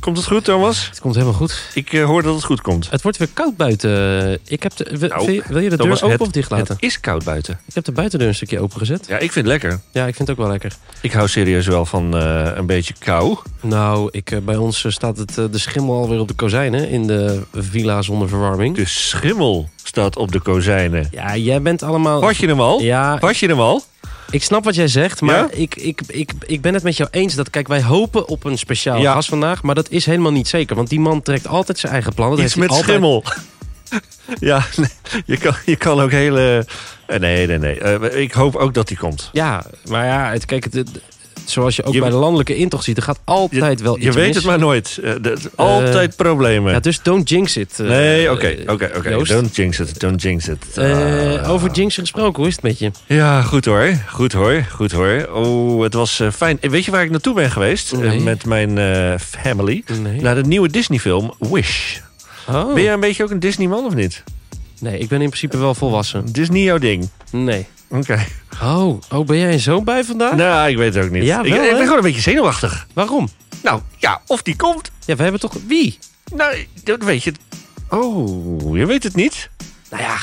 Komt het goed, Thomas? Het komt helemaal goed. Ik eh, hoor dat het goed komt. Het wordt weer koud buiten. Ik heb de, wil- Nou, wil je- wil je de Thomas, deur open het- of dicht laten? Het is koud buiten. Ik heb de buitendeur een stukje opengezet. Ja, ik vind het lekker. Ja, ik vind het ook wel lekker. Ik hou serieus wel van eh, een beetje kou. Nou, ik, eh, bij ons eh, staat het, eh, de schimmel alweer op de kozijnen in de villa zonder verwarming. De schimmel staat op de kozijnen. Ja, jij bent allemaal... Was je hem al? Oh. Ja, Was je hem al? ik snap wat jij zegt, maar Ja? ik, ik, ik, ik ben het met jou eens. Dat, kijk, wij hopen op een speciaal Ja. gast vandaag, maar dat is helemaal niet zeker. Want die man trekt altijd zijn eigen plannen. Dat Iets met heeft hij altijd- schimmel. ja, nee, je, kan, je kan ook hele... eh, Nee, nee, nee. Eh, ik hoop ook dat die komt. Ja, maar ja, het, kijk, het, het- zoals je ook Je- bij de landelijke intocht ziet, er gaat altijd wel iets Je weet mis. het maar nooit. Eh, de- altijd problemen. Ja, dus don't jinx it. eh, nee, oké, eh, oké, oké. Joost. Don't jinx it, don't jinx it. Eh, Ah. over jinx gesproken, hoe is het met je? Ja, goed hoor. Goed hoor. Goed hoor. Oh, het was eh, fijn. Eh, Weet je waar ik naartoe ben geweest? Eh, Nee. met mijn eh, family. Nee. Naar de nieuwe Disney-film Wish. Oh. Ben jij een beetje ook een Disney-man of niet? Nee, ik ben in principe wel volwassen. Disney jouw ding. Nee. Oké. Oh, oh ben jij zo'n bij vandaag? Nou, ik weet het ook niet. Ja, ik, wel, ik hè? ben gewoon een beetje zenuwachtig. Waarom? Nou, ja, of die komt. Ja, we hebben toch... Wie? Nou, dat weet je. Oh, je weet het niet. Nou ja,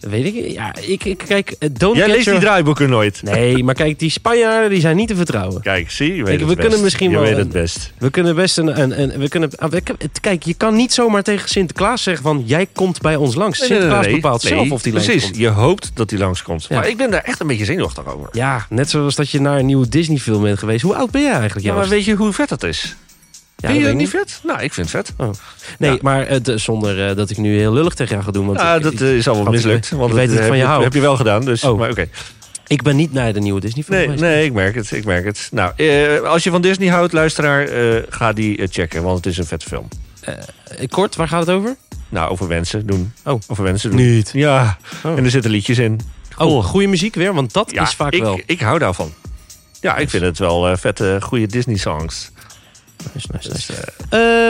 dat weet ik. Ja, ik, ik kijk, eh, don't Jij get leest die your- draaiboeken nooit. Nee, maar kijk, die Spanjaarden die zijn niet te vertrouwen. Kijk, zie, je weet Kijk, het we best. kunnen misschien je wel weet een- het best. We kunnen best een... een, een- we kunnen, ah, we kunnen- het- kijk, je kan niet zomaar tegen Sinterklaas zeggen van... jij komt bij ons langs. Nee, nee, Sinterklaas nee, nee. bepaalt Nee, zelf of die Precies, langs komt. je hoopt dat die langskomt. Ja. Maar ik ben daar echt een beetje zenuwachtig over. Ja, net zoals dat je naar een nieuwe Disney film bent geweest. Hoe oud ben jij eigenlijk, Ja, Joost? maar weet je hoe vet dat is? Ja, Vind je dat dat weet niet ik vet? Nou, ik vind het vet. niet. Nee, maar eh, d- zonder eh, dat ik nu heel lullig tegen jou ga doen. Want Nou, ik- dat ik, eh, is allemaal ik mislukt. weet- Want eh, ik weet dat heb ik van je je- hou. Heb je wel gedaan, dus. Oh. Maar oké. ik ben niet naar de nieuwe Disney film Nee, geweest. nee, ik merk het. Ik merk het. Nou, eh, als je van Disney houdt, luisteraar, eh, ga die eh, checken, want het is een vet film. Eh, Kort, waar gaat het over? Nou, over wensen doen. Oh. Over wensen doen. Niet. Ja, Oh. en er zitten liedjes in. Oh, goede muziek weer, want dat Ja, is vaak ik, wel. ik hou daarvan. Ja, ik vind het wel eh, vette, goede Dus, Disney-songs. Nice, nice, nice.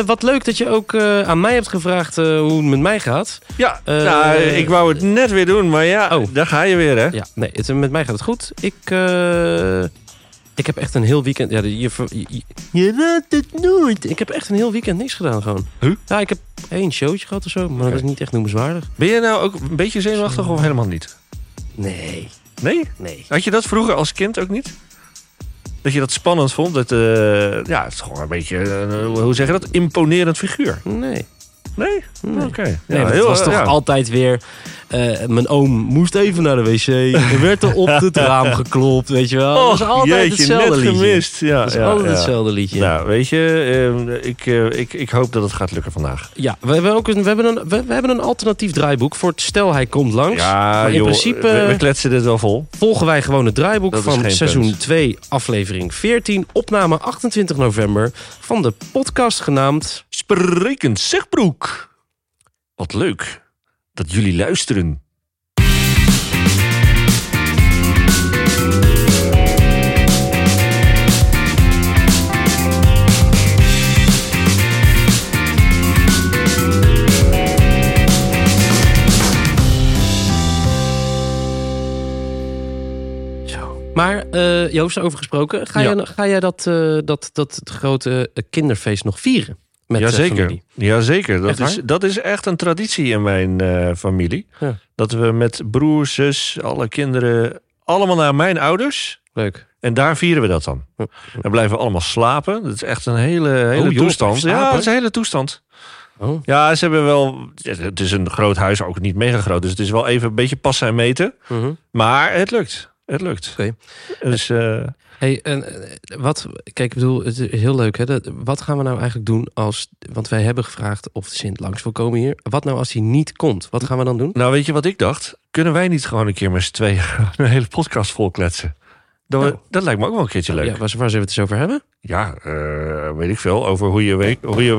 Eh, wat leuk dat je ook eh, aan mij hebt gevraagd eh, hoe het met mij gaat. Ja, Eh, nou, ik wou het net weer doen, maar ja, Oh. daar ga je weer, hè? Ja, nee, het, met mij gaat het goed. Ik, eh, ik heb echt een heel weekend. Ja, je, ver- je, je- je raadt het nooit. Ik heb echt een heel weekend niks gedaan, gewoon. Huh? Ja, ik heb één showtje gehad of zo, maar dat is niet echt noemenswaardig. Ben je nou ook een beetje zenuwachtig of helemaal niet? Nee, Nee? nee. Had je dat vroeger als kind ook niet? Dat je dat spannend vond? Dat, eh, ja, het is gewoon een beetje, eh, hoe zeg je dat? Imponerend figuur. Nee. Nee? Nee. Oké. Nee, Ja, want het heel- was toch ja. altijd weer... eh, mijn oom moest even naar de wc. Er werd er op het raam geklopt, weet je wel. Oh, het was altijd jeetje, hetzelfde net liedje. gemist. Ja, Het was ja, altijd ja. hetzelfde liedje. Nou, weet je, eh, ik, eh, ik, ik hoop dat het gaat lukken vandaag. Ja, we hebben, ook een, we, hebben een, we, we hebben een alternatief draaiboek voor het stel hij komt langs. Ja, maar in joh, principe we, we kletsen dit wel vol. volgen wij gewoon het draaiboek Dat is van geen seizoen punt. 2, aflevering 14. Opname 28 november van de podcast genaamd... Sprekend Zegbroek. Wat leuk dat jullie luisteren. Maar eh, Joost, daarover gesproken. Ga, Ja. jij, ga jij dat, eh, dat, dat het grote eh, kinderfeest nog vieren? Met eh, Jazeker. familie? Jazeker. Dat Echt is, waar? dat is echt een traditie in mijn eh, familie. Ja. Dat we met broers, zus, alle kinderen, allemaal naar mijn ouders. Leuk. En daar vieren we dat dan. Ja. Dan blijven we allemaal slapen. Dat is echt een hele, hele joh, toestand. slapen? Ja, dat is een hele toestand. Oh. Ja, ze hebben wel... Het is een groot huis, ook niet mega groot. Dus het is wel even een beetje passen en meten. Mhm. Maar het lukt. Het lukt. Oké. Dus eh, Hey, en eh, wat, kijk, ik bedoel, het is heel leuk, hè? Dat, wat gaan we nou eigenlijk doen als, want wij hebben gevraagd of de Sint langs wil komen hier. Wat nou als hij niet komt? Wat gaan we dan doen? Nou, weet je wat ik dacht? Kunnen wij niet gewoon een keer met z'n tweeën gewoon een hele podcast vol kletsen? Dat, we- Nou. dat lijkt me ook wel een keertje leuk. Ja, Ja, waar, waar zullen we het eens over hebben? eh, weet ik veel. Over hoe je weet. Hoe je...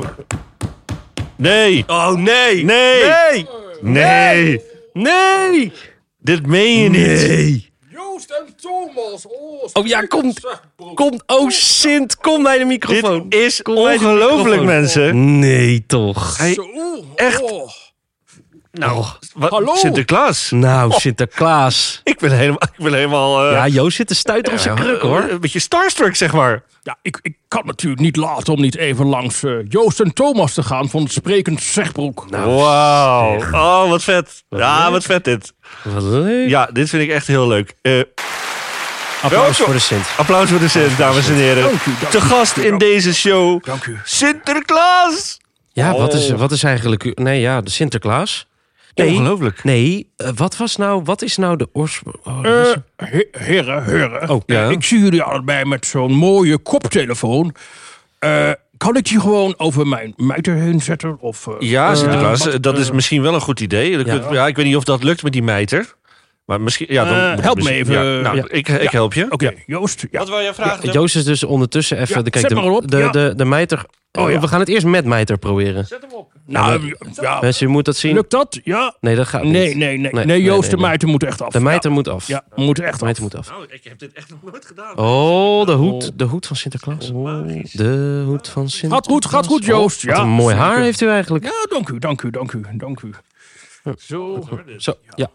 Nee! Oh nee! Nee! Nee! Nee! Nee! Dit meen je niet. Joost en Thomas. Oh, Oh ja, kom, kom, oh Sint, kom bij de microfoon. Dit is bij de ongelooflijk, microfoon. mensen. Oh. Nee, toch? Hij- Zo, echt. oh. Nou, wat, hallo? Sinterklaas. Nou, Sinterklaas. Ik ben helemaal... Ik ben helemaal eh, Ja, Joost zit te stuiten op zijn eh, kruk, hoor. Een beetje starstruck, zeg maar. Ja, ik, ik kan natuurlijk niet laten om niet even langs eh, Joost en Thomas te gaan van Sprekend Zegbroek. Nou. Wauw. Oh, wat vet. Ja, wat vet dit. Wat leuk. Ja, dit vind ik echt heel leuk. Eh, Applaus welkom. voor de Sint. applaus voor de Sint, dames en heren. Dank u, dank Te u, gast dank u, in dank deze show, Dank u. Sinterklaas. Ja, wat, is, Oh. wat is eigenlijk... u- Nee, ja, de Sinterklaas. Nee, Ongelooflijk. Nee, eh, wat was nou... Wat is nou de oorsprong... Oh, dat Eh, is- he- heren, heren. Oh, ja. Eh, Ik zie jullie allebei met zo'n mooie koptelefoon. Eh, kan ik die gewoon over mijn muiter heen zetten? Of, eh, Ja, eh, Sinterklaas, wat- eh, dat is misschien wel een goed idee. Dan kun- Ja. Ja. ik weet niet of dat lukt met die mijter. Maar misschien... Ja, dan Eh, moet het help me misschien- even. ja, nou, Ja. Ik, ik help je. Oké, Joost. Ja. wil je vragen? Tim? Joost is dus ondertussen even... Eh, Ja, de, kijk, zet de, maar op, de, ja. de, de mijter... Oh, ja. We gaan het eerst met mijter proberen. Nou, ja. Mensen, je moet dat zien. Lukt dat? Ja. Nee, dat gaat niet. Nee, nee, nee. Nee, Nee, nee, Joost, nee, de nee. muiter moet echt af. De mijter moet af. Ja, ja, moet echt De af. mijter moet af. Nou, ik heb dit echt nog nooit gedaan. Oh, de hoed, de hoed van Sinterklaas. De hoed van Sinterklaas. Oh, Oh, Gaat goed, gaat goed, Joost. Wat Ja, een mooi haar heeft u eigenlijk. Ja, dank u, dank u, dank u, dank u. Zo. Zo, ja.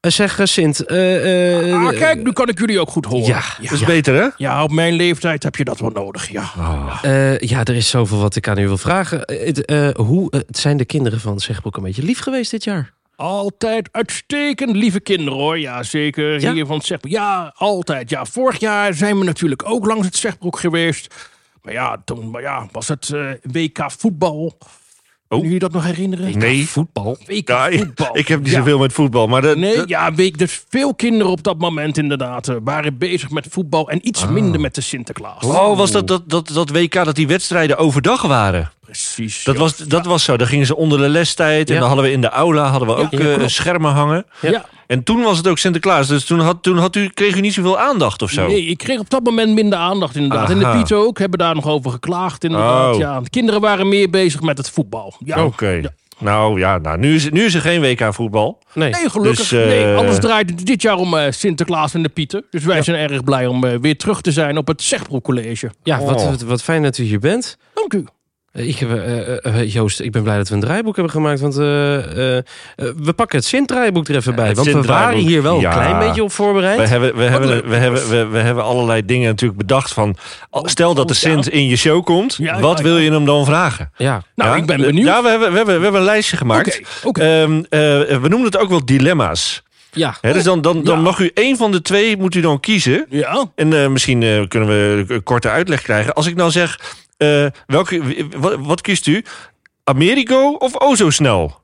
Eh, Zeg, eh, Sint. eh, eh, Ah, kijk, nu kan ik jullie ook goed horen. Ja, Dat is beter, hè? Ja, op mijn leeftijd heb je dat wel nodig, ja. Ah. eh, ja, er is zoveel wat ik aan u wil vragen. Eh, het, eh, hoe eh, het zijn de kinderen van Zegbroek een beetje lief geweest dit jaar? Altijd uitstekend lieve kinderen, hoor. Ja, zeker. Ja? Hier van het Zegbroek. Ja, altijd. Ja, vorig jaar zijn we natuurlijk ook langs het Zegbroek geweest. Maar ja, toen maar ja, was het eh, WK voetbal. Kunnen jullie dat nog herinneren? Nee. Voetbal. WK Oh. Ja, ik, voetbal. ik heb niet Ja. zoveel met voetbal, maar... De, Nee, de- ja, weet ik, dus veel kinderen op dat moment inderdaad eh, waren bezig met voetbal en iets minder met de Sinterklaas. Ah. Oh, was dat, dat, dat, dat WK dat die wedstrijden overdag waren? precies. Dat, ja. was, dat was zo. Dan gingen ze onder de lestijd. En Ja. dan hadden we in de aula hadden we ook ja, eh, klopt. schermen hangen. Ja. En toen was het ook Sinterklaas. Dus toen, had, toen had u, kreeg u niet zoveel aandacht of zo. Nee, ik kreeg op dat moment minder aandacht inderdaad. En Aha. de Pieten ook hebben daar nog over geklaagd inderdaad. Oh. Ja, de kinderen waren meer bezig met het voetbal. Ja. Oké. Nou ja, nou, nu, is, nu is er geen WK voetbal. Nee. Nee, gelukkig. Dus, eh, nee, alles draait het dit jaar om eh, Sinterklaas en de Pieten. Dus wij zijn erg blij om eh, weer terug te zijn op het Zegbroek College. Ja, wat, Oh. wat, wat fijn dat u hier bent. Dank u. Eh, Ik heb, eh, eh, eh, Joost, ik ben blij dat we een draaiboek hebben gemaakt. Want eh, eh, eh, we pakken het Sint-draaiboek er even bij. het want we waren Sint-draaiboek, hier wel ja. een klein beetje op voorbereid. We hebben, we, hebben, we, hebben, we, we hebben allerlei dingen natuurlijk bedacht van... al- Stel dat de Sint in je show komt. Oh, Ja, Wat ja, wil ja. je hem dan vragen? Ja. Nou, Ja? ik ben benieuwd. Ja, we hebben, we hebben, we hebben een lijstje gemaakt. Oké, oké. Ehm, eh, we noemen het ook wel dilemma's. Ja. Hè, Oh, dus dan, dan, dan mag u één van de twee moet u dan kiezen. Ja. En eh, misschien eh, kunnen we een korte uitleg krijgen. Als ik nou zeg, eh, welke, w- wat, wat kiest u? Amerigo of o zo snel?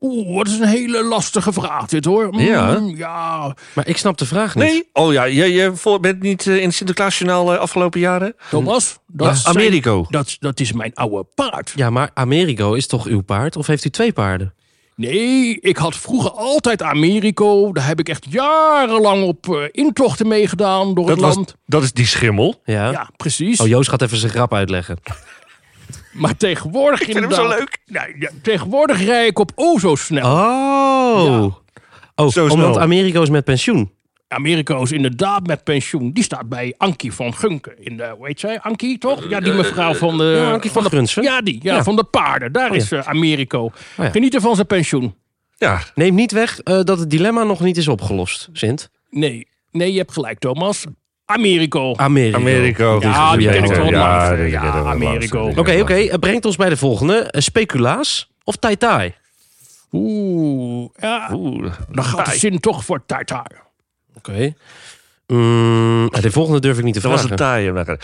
Oeh, wat is een hele lastige vraag dit hoor. Mm, Ja. Ja. Maar ik snap de vraag niet. Nee? Oh ja, jij, jij vol- bent niet eh, in het Sinterklaasjournaal eh, afgelopen jaren? Thomas, dat, Ja, zijn- Americo. dat, dat is mijn oude paard. Ja, maar Amerigo is toch uw paard? Of heeft u twee paarden? Nee, ik had vroeger altijd Americo. Daar heb ik echt jarenlang op eh, intochten meegedaan door Dat, het was, land. dat is die schimmel. Ja. Ja, precies. Oh, Joost gaat even zijn grap uitleggen. Maar tegenwoordig vind hem zo inderdaad- leuk. Nee, ja, tegenwoordig rij ik op o zo snel. Oh. Oh, Zo omdat snel. Amerigo is met pensioen. Americo is inderdaad met pensioen. Die staat bij Ankie van Gunken. In de, hoe heet zij? Ankie, toch? Ja, die mevrouw van de... Ja, Ankie van de- Eh, Grunsen. Ja, die. Ja, Ja. van de paarden. Daar ja. is eh, Americo. ja. Genieten van zijn pensioen. Ja, Neem niet weg eh, dat het dilemma nog niet is opgelost, Sint. Nee, nee, je hebt gelijk, Thomas. Americo. Amerigo. Americo. Ja, die ken ik beter. wel het Ja, langst. die ken ik Ja, wel het langst. Americo. Die ken ik Oké, wel oké. eh, brengt ons bij de volgende. Eh, speculaas of tai tai? Oeh. Ja, het langst. Oeh. dan gaat de zin toch voor tartaar. Oké. Mm, eh, de volgende durf ik niet te Dat was vragen. een taaie.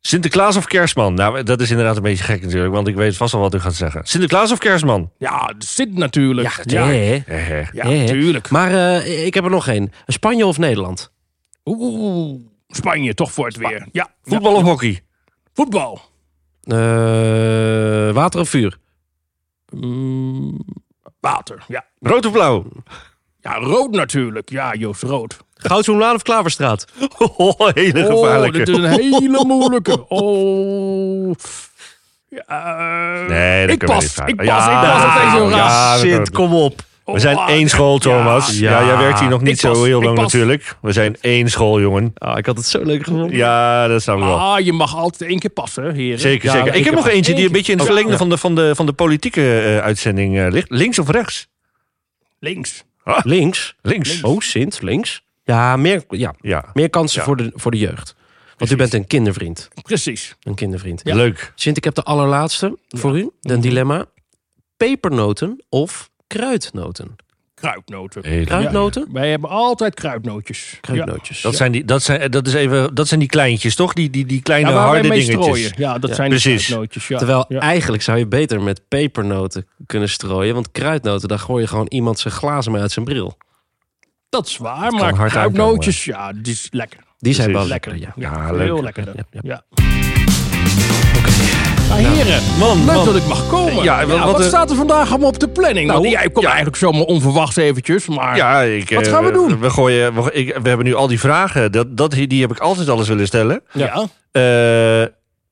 Sinterklaas of Kerstman? Nou, dat is inderdaad een beetje gek natuurlijk, want ik weet vast al wat u gaat zeggen. Sinterklaas of Kerstman? Ja, dat zit natuurlijk. ja, ja, hè? Eh, eh. ja, hè? tuurlijk. Maar eh, ik heb er nog één. Spanje of Nederland? Oeh, Spanje toch voor het weer. Ja, Voetbal ja. of hockey? voetbal. Eh, water of vuur? Water, ja. Rood of blauw? Ja, rood natuurlijk. Ja, Joost, rood. Goudzoenlaan of Klaverstraat? Oh, hele gevaarlijke. Oh, dit is een hele moeilijke. Oh. Ja, eh, Nee, dat ik kunnen we pas, niet vragen. ik pas, Ja, ik pas. Het is heel ja. raar. dat kan Sint, ik. kom op. We zijn Oh, één school, Thomas. Ja. Ja, jij werkt hier nog niet Ik zo pas, heel ik lang pas. natuurlijk. We zijn één school, jongen. Ah, ik had het zo leuk gevonden. Ja, dat snap ik wel. Ah, je mag altijd één keer passen, heren. Zeker, Ja, zeker. Ik ik heb heb nog er eentje die een eentje. beetje in het Oh, verlengde ja. van de, van de, van de politieke eh, uitzending eh, ligt. Links of rechts? Links. Links. Links. Oh, Sint, links. Ja, meer, ja, Ja, meer kansen Ja. Voor, de, voor de jeugd. Want u bent een kindervriend. Precies. Een kindervriend. leuk. Sint, ik heb de allerlaatste voor u. Mhm. Een dilemma. Pepernoten of kruidnoten? Kruidnoten. Kruidnoten? Wij hebben altijd kruidnootjes. Kruidnootjes. Dat, zijn die, dat, zijn, dat, is even, dat zijn die kleintjes, toch? Die, die, die Ja, kleine ja waar wij harde mee dingetjes. strooien. Ja, dat Ja, zijn de precies. kruidnootjes. Ja. Terwijl ja. eigenlijk zou je beter met pepernoten kunnen strooien. Want kruidnoten, daar gooi je gewoon iemand zijn glazen mee uit zijn bril. dat is waar, kan maar hard kruidnootjes, ja, die is lekker. Die zijn Precies. wel Lekker, lekker. ja. Ja. Ja, Heel Ah, leuk. lekker. dan. Ja, ja. Ja. Nou, heren, Man, leuk man. dat ik mag komen. Ja, Ja, wat- wat wat, eh, staat er vandaag allemaal op de planning? Nou, Want jij komt ja. eigenlijk zomaar onverwachts eventjes, maar... Ja, ik, Wat eh, gaan we doen? We, gooien, we, ik- we hebben nu al die vragen. Dat, dat, die heb ik altijd alles willen stellen. Ja. Eh,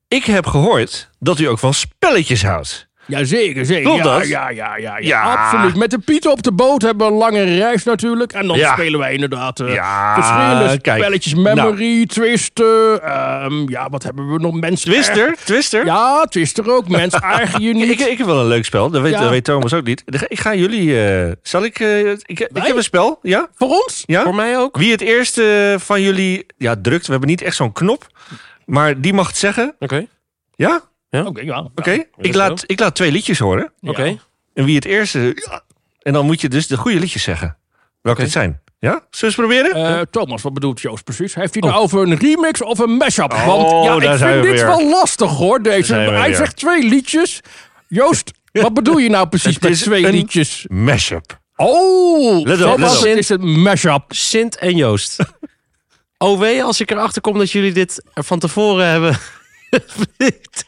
ik heb gehoord dat u ook van spelletjes houdt. Ja, zeker, zeker. Klopt ja, dat? Ja, ja, ja, ja, Ja. absoluut. Met de Pieten op de boot hebben we een lange reis natuurlijk. En dan Ja. spelen wij inderdaad eh Ja, verschillende kijk. Nou. spelletjes. Memory, Twister. ehm, ja, wat hebben we nog? Mensen Twister? Twister? Ja, Twister ook. Mens eigen je niet. Ik, ik heb wel een leuk spel. Dat weet, Ja. dat weet Thomas ook niet. Ik ga jullie... eh, zal ik... eh, ik, ik Wij? heb een spel. Ja? Voor ons? ja? Voor mij ook. Wie het eerste van jullie ja, drukt... We hebben niet echt zo'n knop. Maar die mag het zeggen. Oké. Ja? Oké. Oké, ja. Oké. Ik, laat, ik laat twee liedjes horen. Oké. En wie het eerste... ja. En dan moet je dus de goede liedjes zeggen. Welke het zijn. Ja? Zullen we eens proberen? Eh, Thomas, wat bedoelt Joost precies? Heeft hij het nou over een remix of een mashup? Want Oh. daar ja, zijn ik we vind dit weer. wel lastig hoor, deze. zijn we Hij weer. zegt twee liedjes. Joost, wat bedoel je nou precies Het met is twee een- liedjes? Mashup. Oh, Let op, Thomas, let op. dit is een mashup. Sint en Joost. OW, als ik erachter kom dat jullie dit er van tevoren hebben...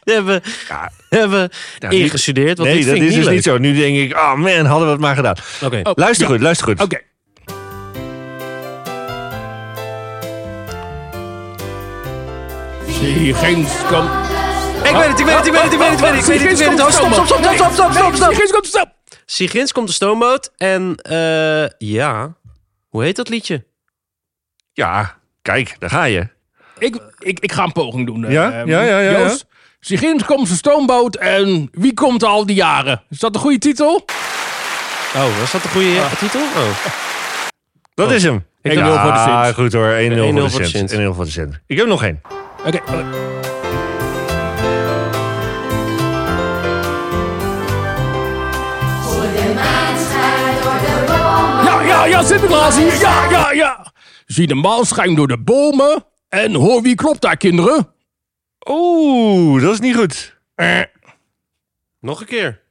hebben, Ja. hebben Ja, nu- ingestudeerd. Want Nee, dit dat vind ik is dus niet niet zo. Nu denk ik, oh man, hadden we het maar gedaan. leuk. Oké. Oh, Luister ja. goed, luister goed. Oké. Zie geen kom. Ik weet het, ik weet het, ik weet het, ik weet het, ik weet het, ik weet het, ik weet het. Oh, Stop, stop, stop, stop, stop, stop, stop. Zie komt stop. Sigrins komt de stoomboot en eh, ja, hoe heet dat liedje? Ja, kijk, daar ga je. Ik, ik, ik ga een poging doen. eh, Ja? eh, Ja, ja, ja, ja. Joost, Sigins komt zijn stoomboot en wie komt al die jaren? Is dat de goede titel? Oh, was dat de goede titel? Oh. Dat is hem. Ik ja, heb 0 voor de Sint. goed hoor. 1-0 voor, 1-0 de voor de Sint. Sint. 1-0 voor de Sint. Ik heb nog één. Oké. eh, Ja, ja, ja, Sinterklaas hier. Ja, ja, ja. Zie de maan schijnt door de bomen. En hoor wie klopt daar, kinderen? Oeh, dat is niet goed. Eh, Nog een keer.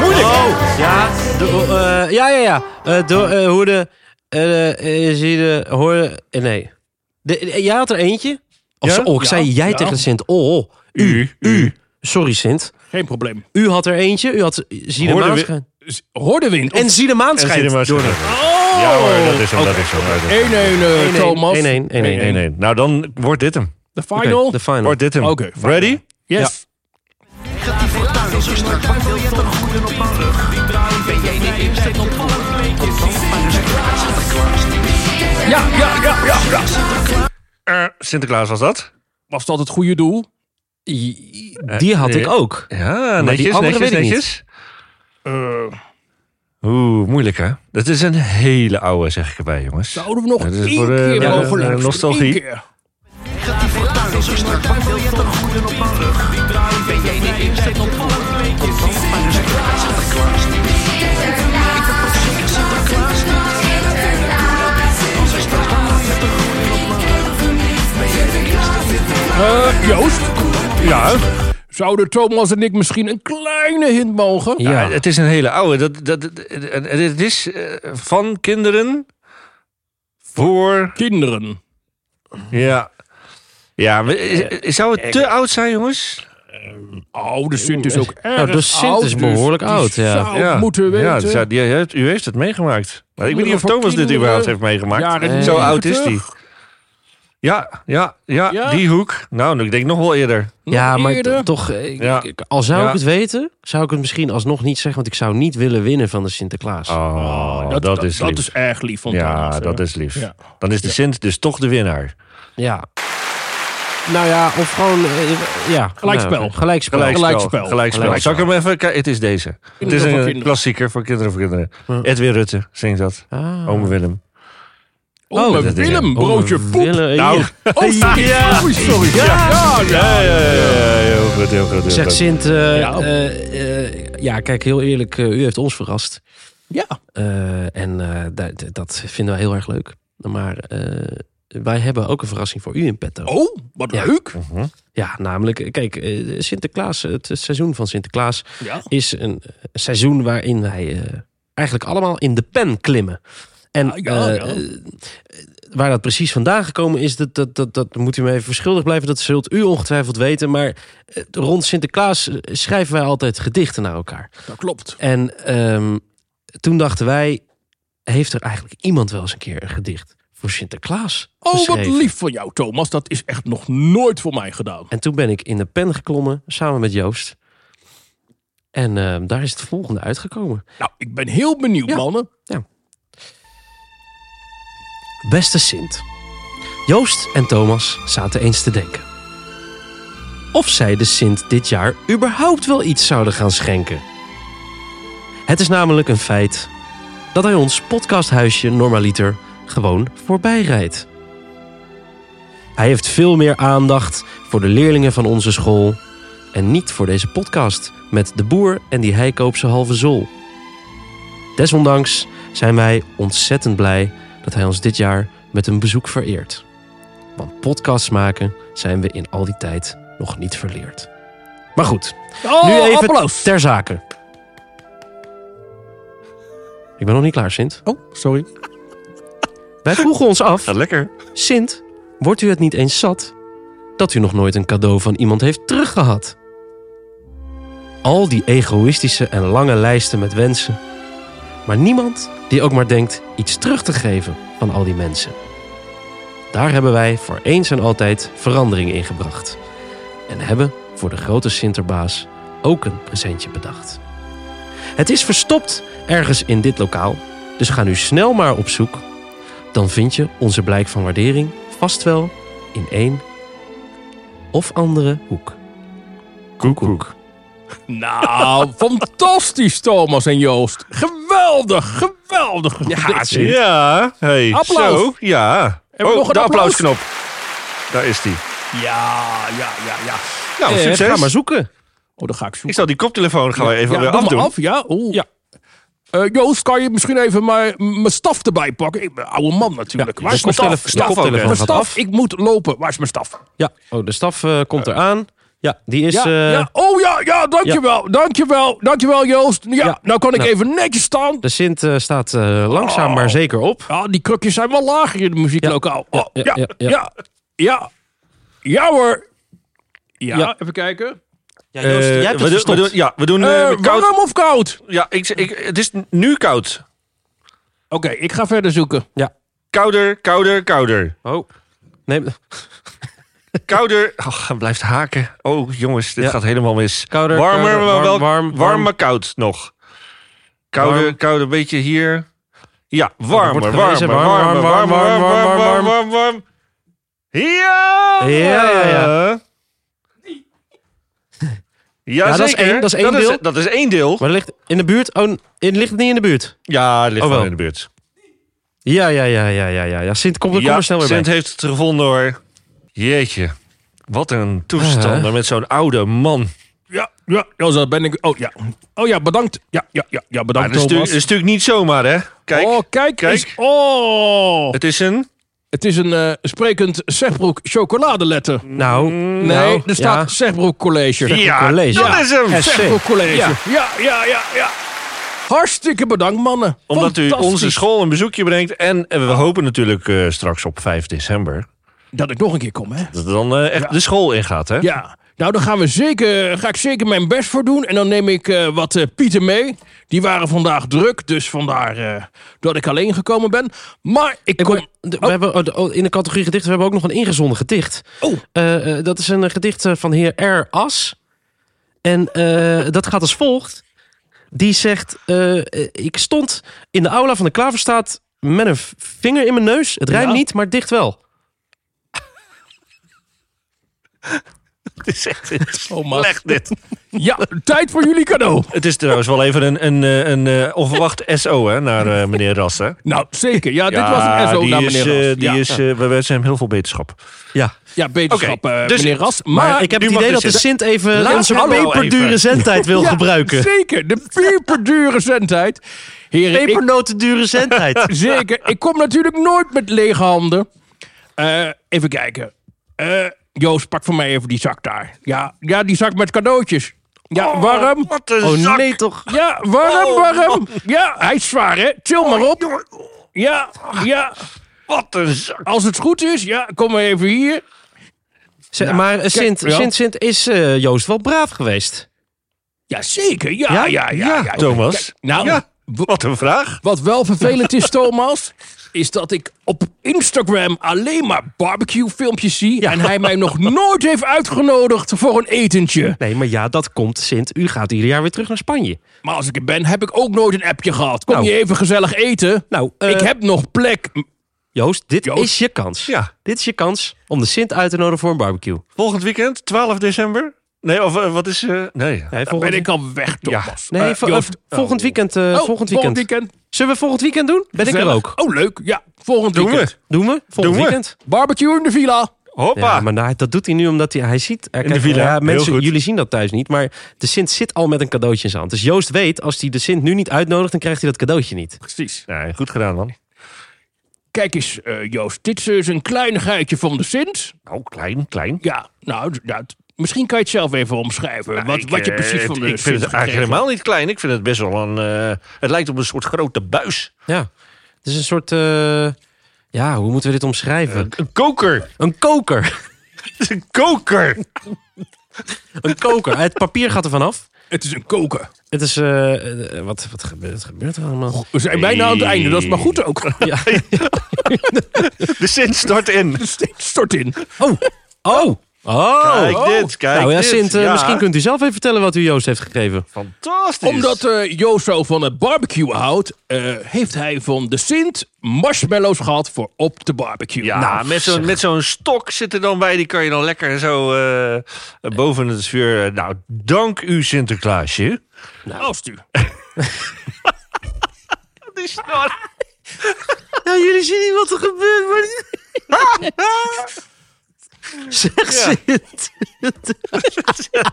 Moeilijk. Oh, Ja, de, eh, ja, ja, ja. Eh, door, eh, hoe de, eh, eh, zie de, hoor, eh, nee. De, eh, jij had er eentje. Of Ja? zo- oh, ik zei Ja, jij ja. tegen Sint. Oh, u, u. Sorry Sint. geen probleem. U had er eentje. U had eh, zie de Hoorde maan we- schijnt. Z- Hoor de wind. En zie de maan En zie je schijnt. hem maar Door de- schijnen. Oh! Ja hoor, dat is hem, dat is hem. dat is hem. 1-1, eh, 1-1, Thomas. 1-1, 1-1. 1-1. Nou, dan wordt dit hem. De Oké, final? De final. Wordt dit hem. Oké, fijn. Ready? yes. Ja, ja, ja, ja, ja. Eh, Sinterklaas was dat. Was dat het goede doel? I- Die had ik nee. ook. Ja, die netjes, netjes, andere weet ik niet. netjes. Eh, Oeh, moeilijk hè? Dat is een hele oude, zeg ik erbij jongens. zouden we nog Ja, dit is één voor de- keer ja, de- mogen de luisteren? nostalgie. Eén keer. Eh, Joost? Ja? Zouden Thomas en ik misschien een kleine hint mogen? Ja, Ja. het is een hele oude. Dat, dat, dat- het- het is eh, van kinderen voor. Kinderen. Ja. Ja, we- is- zou het te oud zijn, jongens? oh, de Sint is ook erg de Sint oud, is dus behoorlijk die oud, ja. zou moeten weten. Ja, dus ja, die- ja, u heeft het meegemaakt. Maar ik weet niet of Thomas dit überhaupt heeft meegemaakt. Jaren Oh, Nee. Zo oud is die. 90. Ja, ja, ja, Ja. die hoek. Nou, ik denk nog wel eerder. Nog ja, maar eerder. t- toch, eh, ik- Ja. ik- al zou Ja. ik het weten, zou ik het misschien alsnog niet zeggen. Want ik zou niet willen winnen van de Sinterklaas. Oh, Oh, dat, is lief. dat is erg lief van ja, Thomas, dat hè. is lief. Ja. Dan is de Sint dus toch de winnaar. Ja. Nou ja, of gewoon... eh, ja, Gelijkspel. nou, gelijkspel. Gelijkspel. Gelijkspel. Gelijkspel. Gelijkspel. Zal ik hem even... Kijk, het is deze. Het is voor een kinderen. klassieker voor kinderen voor kinderen. Ja. Edwin Rutte zingt dat. Ah. Ome Willem. Oh, Oh, maar dat is- Willem, broodje Ome poep. Willem, nou, ja. oh, sorry, sorry, sorry. Ja, ja, Ja, ja, ja, ja, heel goed, heel goed. heel Zegt goed. Sint, eh, Ja. eh, eh, ja, kijk, heel eerlijk, eh, u heeft ons verrast. ja. Eh, en eh, da- d- dat vinden we heel erg leuk. Maar eh, wij hebben ook een verrassing voor u in petto. Oh, wat Ja. leuk. Mhm. Ja, namelijk, kijk, eh, Sinterklaas, het het seizoen van Sinterklaas Ja. is een eh, seizoen waarin wij eh, eigenlijk allemaal in de pen klimmen. En Ah, ja, eh, ja. eh, waar dat precies vandaan gekomen is, dat, dat, dat, dat moet u me even verschuldigd blijven. Dat zult u ongetwijfeld weten. Maar eh, rond Sinterklaas eh, schrijven wij altijd gedichten naar elkaar. Dat klopt. En ehm, toen dachten wij, heeft er eigenlijk iemand wel eens een keer een gedicht voor Sinterklaas Oh, wat geschreven? lief van jou, Thomas. Dat is echt nog nooit voor mij gedaan. En toen ben ik in de pen geklommen samen met Joost. En ehm, daar is het volgende uitgekomen. Nou, ik ben heel benieuwd, Ja. mannen. Beste Sint. Joost en Thomas zaten eens te denken. Of zij de Sint dit jaar überhaupt wel iets zouden gaan schenken. Het is namelijk een feit dat hij ons podcasthuisje normaliter gewoon voorbij rijdt. Hij heeft veel meer aandacht voor de leerlingen van onze school en niet voor deze podcast met de boer en die heikoopse halve zool. Desondanks zijn wij ontzettend blij dat hij ons dit jaar met een bezoek vereert. Want podcasts maken zijn we in al die tijd nog niet verleerd. Maar goed, Oh, nu even applaus. ter zake. Ik ben nog niet klaar, Sint. Oh, sorry. Wij vroegen ons af, Gaat lekker. Sint, wordt u het niet eens zat dat u nog nooit een cadeau van iemand heeft teruggehad? Al die egoïstische en lange lijsten met wensen, maar niemand die ook maar denkt iets terug te geven van al die mensen. Daar hebben wij voor eens en altijd verandering in gebracht en hebben voor de grote Sinterbaas ook een presentje bedacht. Het is verstopt ergens in dit lokaal, dus ga nu snel maar op zoek dan vind je onze blijk van waardering vast wel in één of andere hoek. Koek, koek. Nou, fantastisch, Thomas en Joost. Geweldig, geweldig. Ja, Dit- zeker. Ja, hey. Applaus. Zo, ja. Oh, we nog een de applaus? applausknop. Daar is die. ja, ja, ja, ja. Nou, Eh, succes. Ga maar zoeken. Oh, dan ga ik zoeken. Ik zal die koptelefoon gaan we even ja, weer doe afdoen. maar af, ja. Oeh. Ja. Eh, Joost, kan je misschien even mijn, mijn staf erbij pakken? Ik ben een oude man natuurlijk. Ja, dus Waar is de mijn staf? koptele- de Staf, koptelefoon mijn gaat staf. af. Ik moet lopen. Waar is mijn staf? Ja, oh, de staf eh, komt eraan. Ja, die is... Ja, eh, ja. Oh ja, ja, dankjewel. Dankjewel, dankjewel Joost. Ja, Ja. nou kan ik Nou. even netjes staan. De Sint eh, staat eh, langzaam maar zeker op. Ja, die krukjes zijn wel lager in de muzieklokaal. Ja, Oh, ja, ja, ja, ja, ja. ja, ja. hoor. Ja, Ja. even kijken. Ja, Eh, we, doen, we doen- ja, we doen eh, Eh, met koud. warm of koud? Ja, ik, ik, het is nu koud. Oké, ik ga verder zoeken. Kouder, kouder, kouder. Oh. Nee, Kouder. Ach, hij blijft haken. Oh, jongens, dit Ja. gaat helemaal mis. Kouder, warmer, kouder, maar warm, wel warm, warm, warm. maar koud nog. Kouder, Warm. Oh, kouder, een beetje hier. Ja, warmer, wordt warmer, gewezen. warmer, warmer, warm, warm, warm, warm, warm, Ja! Ja, ja, ja. Ja, Ja, dat is zeker. één- dat is één deel. dat is één deel. maar ligt in de buurt? Oh, in, ligt het niet in de buurt? Ja, het ligt Oh, wel wel. in de buurt. Ja, ja, ja, ja, ja. ja. ja Sint, kom, kom ja, er snel weer Sint bij. heeft het gevonden hoor. Jeetje. Wat een toestand Ah. met zo'n oude man. Ja, ja, ja, zo ben ik. Oh ja, oh ja, bedankt. Ja, ja, ja, ja Maar bedankt Ah, dat is natuurlijk- Thomas. dat is natuurlijk niet zomaar, hè? Kijk, oh, kijk, kijk. eens. Oh, het is een... het is een eh, sprekend Zegbroek chocoladeletter. Nou, Nee, nou, er staat Zegbroek College. Ja, college. dat Ja. is hem! SC. Zegbroek College. Ja. Ja. ja, ja, ja, Hartstikke bedankt, mannen. Omdat u Fantastisch. onze school een bezoekje brengt. En eh, we hopen natuurlijk eh, straks op 5 december... Dat ik nog een keer kom, hè? dat er dan eh, echt de school ingaat, hè? Ja. Nou, dan gaan we zeker, ga ik zeker mijn best voor doen. En dan neem ik eh, wat eh, Pieten mee. Die waren vandaag druk, dus vandaar eh, dat ik alleen gekomen ben. Maar ik Ik kom... hoor- de- we hebben, oh, de- oh, in de categorie gedichten we hebben ook nog een ingezonden gedicht. Oh. Eh, eh, dat is een eh, gedicht eh, van heer R. As. En eh, dat gaat als volgt. Die zegt, eh, eh, ik stond in de aula van de Klaverstaat met een v- vinger in mijn neus. Het rijmt Ja. niet, maar het dicht wel. Het is echt Oh, man. slecht dit. Ja, tijd voor jullie cadeau. Het is trouwens wel even een, een, eh, een, eh, onverwacht SO hè, naar eh, meneer Ras. Hè? Nou, zeker. Ja, dit was een SO die naar is, meneer eh, Ras. die ja. is, eh, we wensen hem heel veel beterschap. Ja. ja, beterschap, Oké, eh, dus- meneer Ras. Maar, Maar, ik heb nu het mag idee dus dat de het- Sint even Laat onze hem nou peperdure even. zendtijd wil Ja, gebruiken. zeker. De peperdure zendtijd. Heren, ik Pepernotendure zendtijd. Zeker. Ik kom natuurlijk nooit met lege handen. Eh, even kijken. Eh, Joost, pak voor mij even die zak daar. Ja, ja die zak met cadeautjes. Ja, Oh, warm. Wat een Oh zak. nee toch. Ja, warm, Oh, warm. Ja, hij is zwaar, hè? Chill maar op. Jongen, Ja, ja. Wat een zak. Als het goed is, ja, kom maar even hier. Z- maar eh, Sint, ja. Sint, Sint is eh, Joost wel braaf geweest. Ja, zeker. Ja, Ja? ja, ja. ja, ja. Thomas. Nou, Ja, wat een vraag. Wat wel vervelend is, Thomas, is dat ik op Instagram alleen maar barbecue filmpjes zie. En hij mij nog nooit heeft uitgenodigd voor een etentje. Nee, maar ja, dat komt Sint. U gaat ieder jaar weer terug naar Spanje. Maar als ik er ben, heb ik ook nooit een appje gehad. Kom Nou. je even gezellig eten? Nou, eh, ik heb nog plek. Joost, dit Joost? is je kans. Ja. Dit is je kans om de Sint uit te nodigen voor een barbecue. Volgend weekend, 12 december. Nee, of eh, wat is... eh, nee. Nee, Dan volgend, ben ik al weg, Thomas. nee, Eh, vo- Joost. eh, volgend weekend. eh, Oh, volgend weekend. Zullen we volgend weekend doen? Ben ik er Gezellig. ook. Oh, leuk. Ja, volgend Doen weekend. we. Doen we? Volgend Doen we. weekend. Barbecue in de villa. Hoppa. Ja, maar nou, dat doet hij nu omdat hij, hij ziet... eh, de villa, ja, heel mensen, goed. jullie zien dat thuis niet, maar de Sint zit al met een cadeautje in zijn hand. Dus Joost weet, als hij de Sint nu niet uitnodigt, dan krijgt hij dat cadeautje niet. Precies. Nee, goed gedaan, man. Kijk eens, eh, Joost. Dit is een kleinigheidje van de Sint. Nou, klein, klein. Ja, nou, d- ja, t- misschien kan je het zelf even omschrijven. wat, Ik, wat je eh, precies van Ik de vind het Sint eigenlijk gekregen helemaal niet klein. Ik vind het best wel een... eh, het lijkt op een soort grote buis. Ja, het is een soort... eh, ja, hoe moeten we dit omschrijven? Een koker. Een koker. Het is een koker. Een koker. Het papier gaat er vanaf. hebt. Het is een koken. Het is... eh, eh, wat, wat, gebeurt, wat gebeurt er allemaal? We zijn bijna aan het einde, dat is maar goed ook. Ja. De Sint stort in. Steeds Stort in. Oh! Oh! Oh! Kijk oh. dit, kijk nou ja, dit. Sint, eh, Ja. misschien kunt u zelf even vertellen wat u Joost heeft gegeven. Fantastisch. Omdat eh Joost zo van het barbecue houdt, eh, heeft hij van de Sint marshmallows gehad voor op de barbecue. Ja, Nou, met zo'n met zo'n stok zit er dan bij. Die kan je dan lekker zo eh, boven het vuur. Nou, dank u Sinterklaasje. nou. als u. Die snor. Ja, jullie zien niet wat er gebeurt, maar... zeg Sint.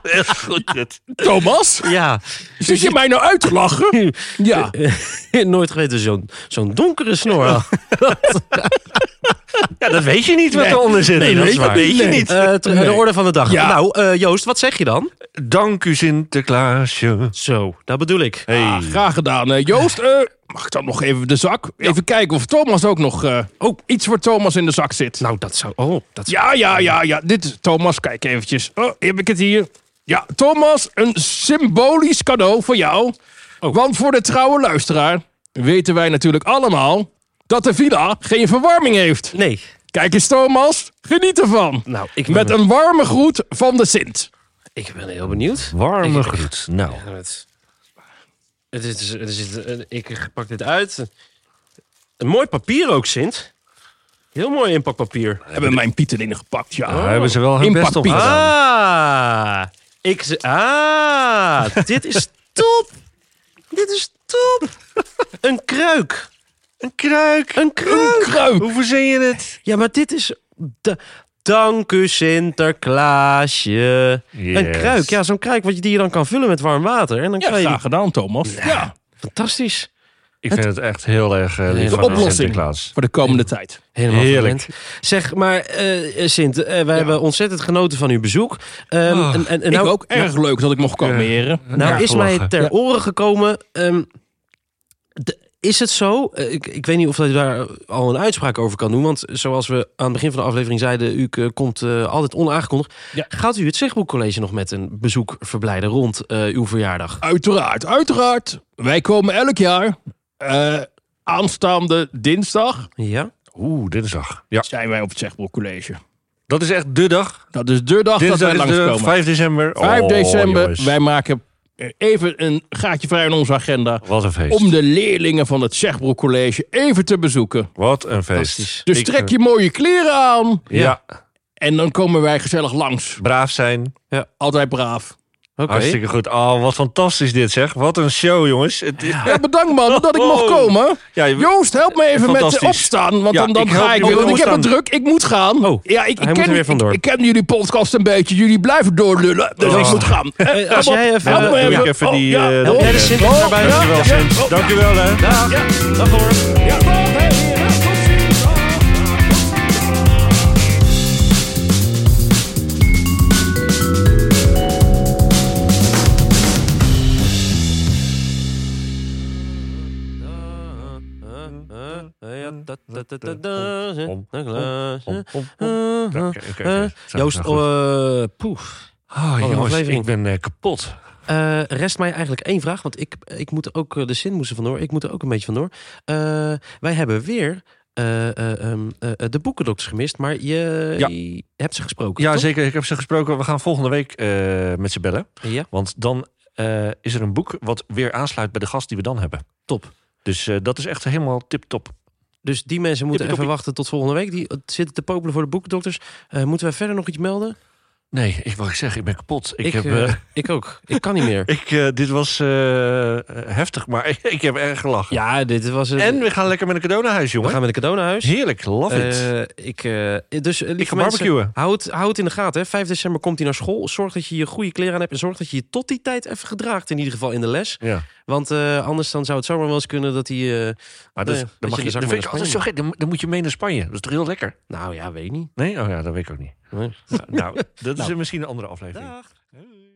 Heel goed dit. Thomas, Ja. zit je mij nou uit te lachen? Ja, Nooit geweten zo'n zo'n donkere snor. had. Ja, dat weet je niet wat eronder zit. nee, dat weet is ik waar. niet. weet je Nee. niet. Eh, ter- De orde van de dag. Ja. Nou, eh, Joost, wat zeg je dan? dank u Sinterklaasje. Zo, dat bedoel ik. Hey. Ah, graag gedaan. Eh, Joost, eh, mag ik dan nog even de zak? Even kijken of Thomas ook nog eh, oh, iets voor Thomas in de zak zit. Nou, dat zou... Oh, dat zou... Ja, ja, ja, ja. Dit is Thomas. Kijk eventjes. Oh, heb ik het hier? Ja, Thomas, een symbolisch cadeau voor jou. Oh. Want voor de trouwe luisteraar weten wij natuurlijk allemaal dat de villa geen verwarming heeft. Nee. Kijk eens, Thomas. Geniet ervan. Nou, ik ben, Met een warme groet van de Sint. ik ben heel benieuwd. Warme groet. Nou, Ja, Het, het is, het is, het- ik pak dit uit. Een mooi papier ook, Sint. Heel mooi inpakpapier. Hebben mijn Pieter ingepakt, ja. daar hebben ze wel hun Impact best op Piet. gedaan. Ah, ik, z- ah dit is top. Dit is top. Een kruik. Een kruik. Een kruik. Ah, Kruip. Hoe verzin je het? Ja, maar dit is... da- Dank u Sinterklaasje. Een Yes. kruik. Ja, zo'n kruik wat je, die je dan kan vullen met warm water. En dan Ja, kan je die... graag gedaan, Thomas. Ja, Fantastisch. Ik vind het echt heel erg eh, lief De van oplossing. Sinterklaas. voor de komende tijd. Helemaal Heerlijk. Heerlijk. Zeg, maar eh, Sint, eh, wij hebben ontzettend genoten van uw bezoek. Ehm, Ah, en, en, en Ik nou, ook erg leuk dat ik mocht komen, Ja. heren. Nou Ja, is mij gelachen. ter oren gekomen... ehm, de- Is het zo? Eh, Ik, ik weet niet of dat je daar al een uitspraak over kan doen. Want zoals we aan het begin van de aflevering zeiden, u eh, komt eh, altijd onaangekondigd. Ja. Gaat u het Zegboekcollege nog met een bezoek verblijden rond eh, uw verjaardag? Uiteraard, uiteraard. Wij komen elk jaar eh, aanstaande dinsdag Ja? Oeh, dinsdag. Ja, zijn wij op het Zegboek College. dat is echt de dag. Dat is de dag dat Dinsdag wij is de langskomen. 5 december. 5 Oh, december, jongens. wij maken eh, even een gaatje vrij in onze agenda. Wat een feest. Om de leerlingen van het Zegbroek College even te bezoeken. Wat een feest. Fantastisch. Dus Ik, trek je mooie kleren aan. eh, Ja, En dan komen wij gezellig langs. braaf zijn. Altijd braaf. Oké. Hartstikke goed. Oh, wat fantastisch dit zeg. Wat een show, jongens. Het, ja. Ja, bedankt man dat ik Oh. mocht komen. Ja, je- Joost, help me even met Fantastisch. eh, opstaan. Want Ja, dan, dan ik help ga je ik met weer. Want ik heb het opstaan. druk. Ik moet gaan. Oh, ja, ik, ik, moet er ken, weer ik- vandoor. ik, ken jullie podcast een beetje. Jullie blijven doorlullen. Dus ik moet gaan. Eh, Eh, als kom op, jij even- help me Doe doe even. Oh. ik even Oh, die... ja, eh, help jij de eh, Sint Oh, naar buiten? ja, Dankjewel, ja, Sint. oh, Dankjewel, hè. Dag. Dag hoor. ja, oh, hey, ja, tot ziens. Oh. Om, om, om, om. Oké, oké, oké. Zo, Joost, nou goed. eh, poef. Oh, een jongens, ik aflevering. ben eh, kapot. Eh, rest mij eigenlijk één vraag, want ik, ik moet er ook eh, de zin moest er vandoor. Ik moet er ook een beetje vandoor. Eh wij hebben weer eh, eh, ehm, eh, eh, de boekendoks gemist, maar je, Ja. je hebt ze gesproken. Ja, toch? zeker. Ik heb ze gesproken. We gaan volgende week eh, met ze bellen. Ja, Want dan eh, is er een boek wat weer aansluit bij de gast die we dan hebben. top. Dus eh, dat is echt helemaal tip-top. Dus die mensen moeten even Tippie-toppie. wachten tot volgende week. Die eh, zitten te popelen voor de boekendokters. Eh, moeten wij verder nog iets melden? Nee, ik wil zeggen, ik ben kapot. Ik, heb, eh, eh, ik ook. Ik kan niet meer. ik, eh, dit was eh, heftig, maar ik heb erg gelachen. Ja, dit was het. En we gaan lekker met een cadeau naar huis, we jongen. gaan met een cadeau naar huis. Heerlijk, love it. Eh, ik, eh, dus, eh, lieve ik ga mensen, barbecuen. Hou het, hou het in de gaten. Hè. 5 december komt hij naar school. Zorg dat je je goede kleren aan hebt. En zorg dat je je tot die tijd even gedraagt. In ieder geval in de les. Ja. Want eh, anders dan zou het zomaar wel eens kunnen dat hij... eh, Maar dat, Nee, dan mag dat je je, de zak dat mee vind ik naar altijd zo gek. Dan, dan moet je mee naar Spanje. Dat is toch heel lekker? nou ja, weet ik niet. Nee? Oh ja, dat weet ik ook niet. Nee. Nou, dat is misschien een andere aflevering. Dag. Hey.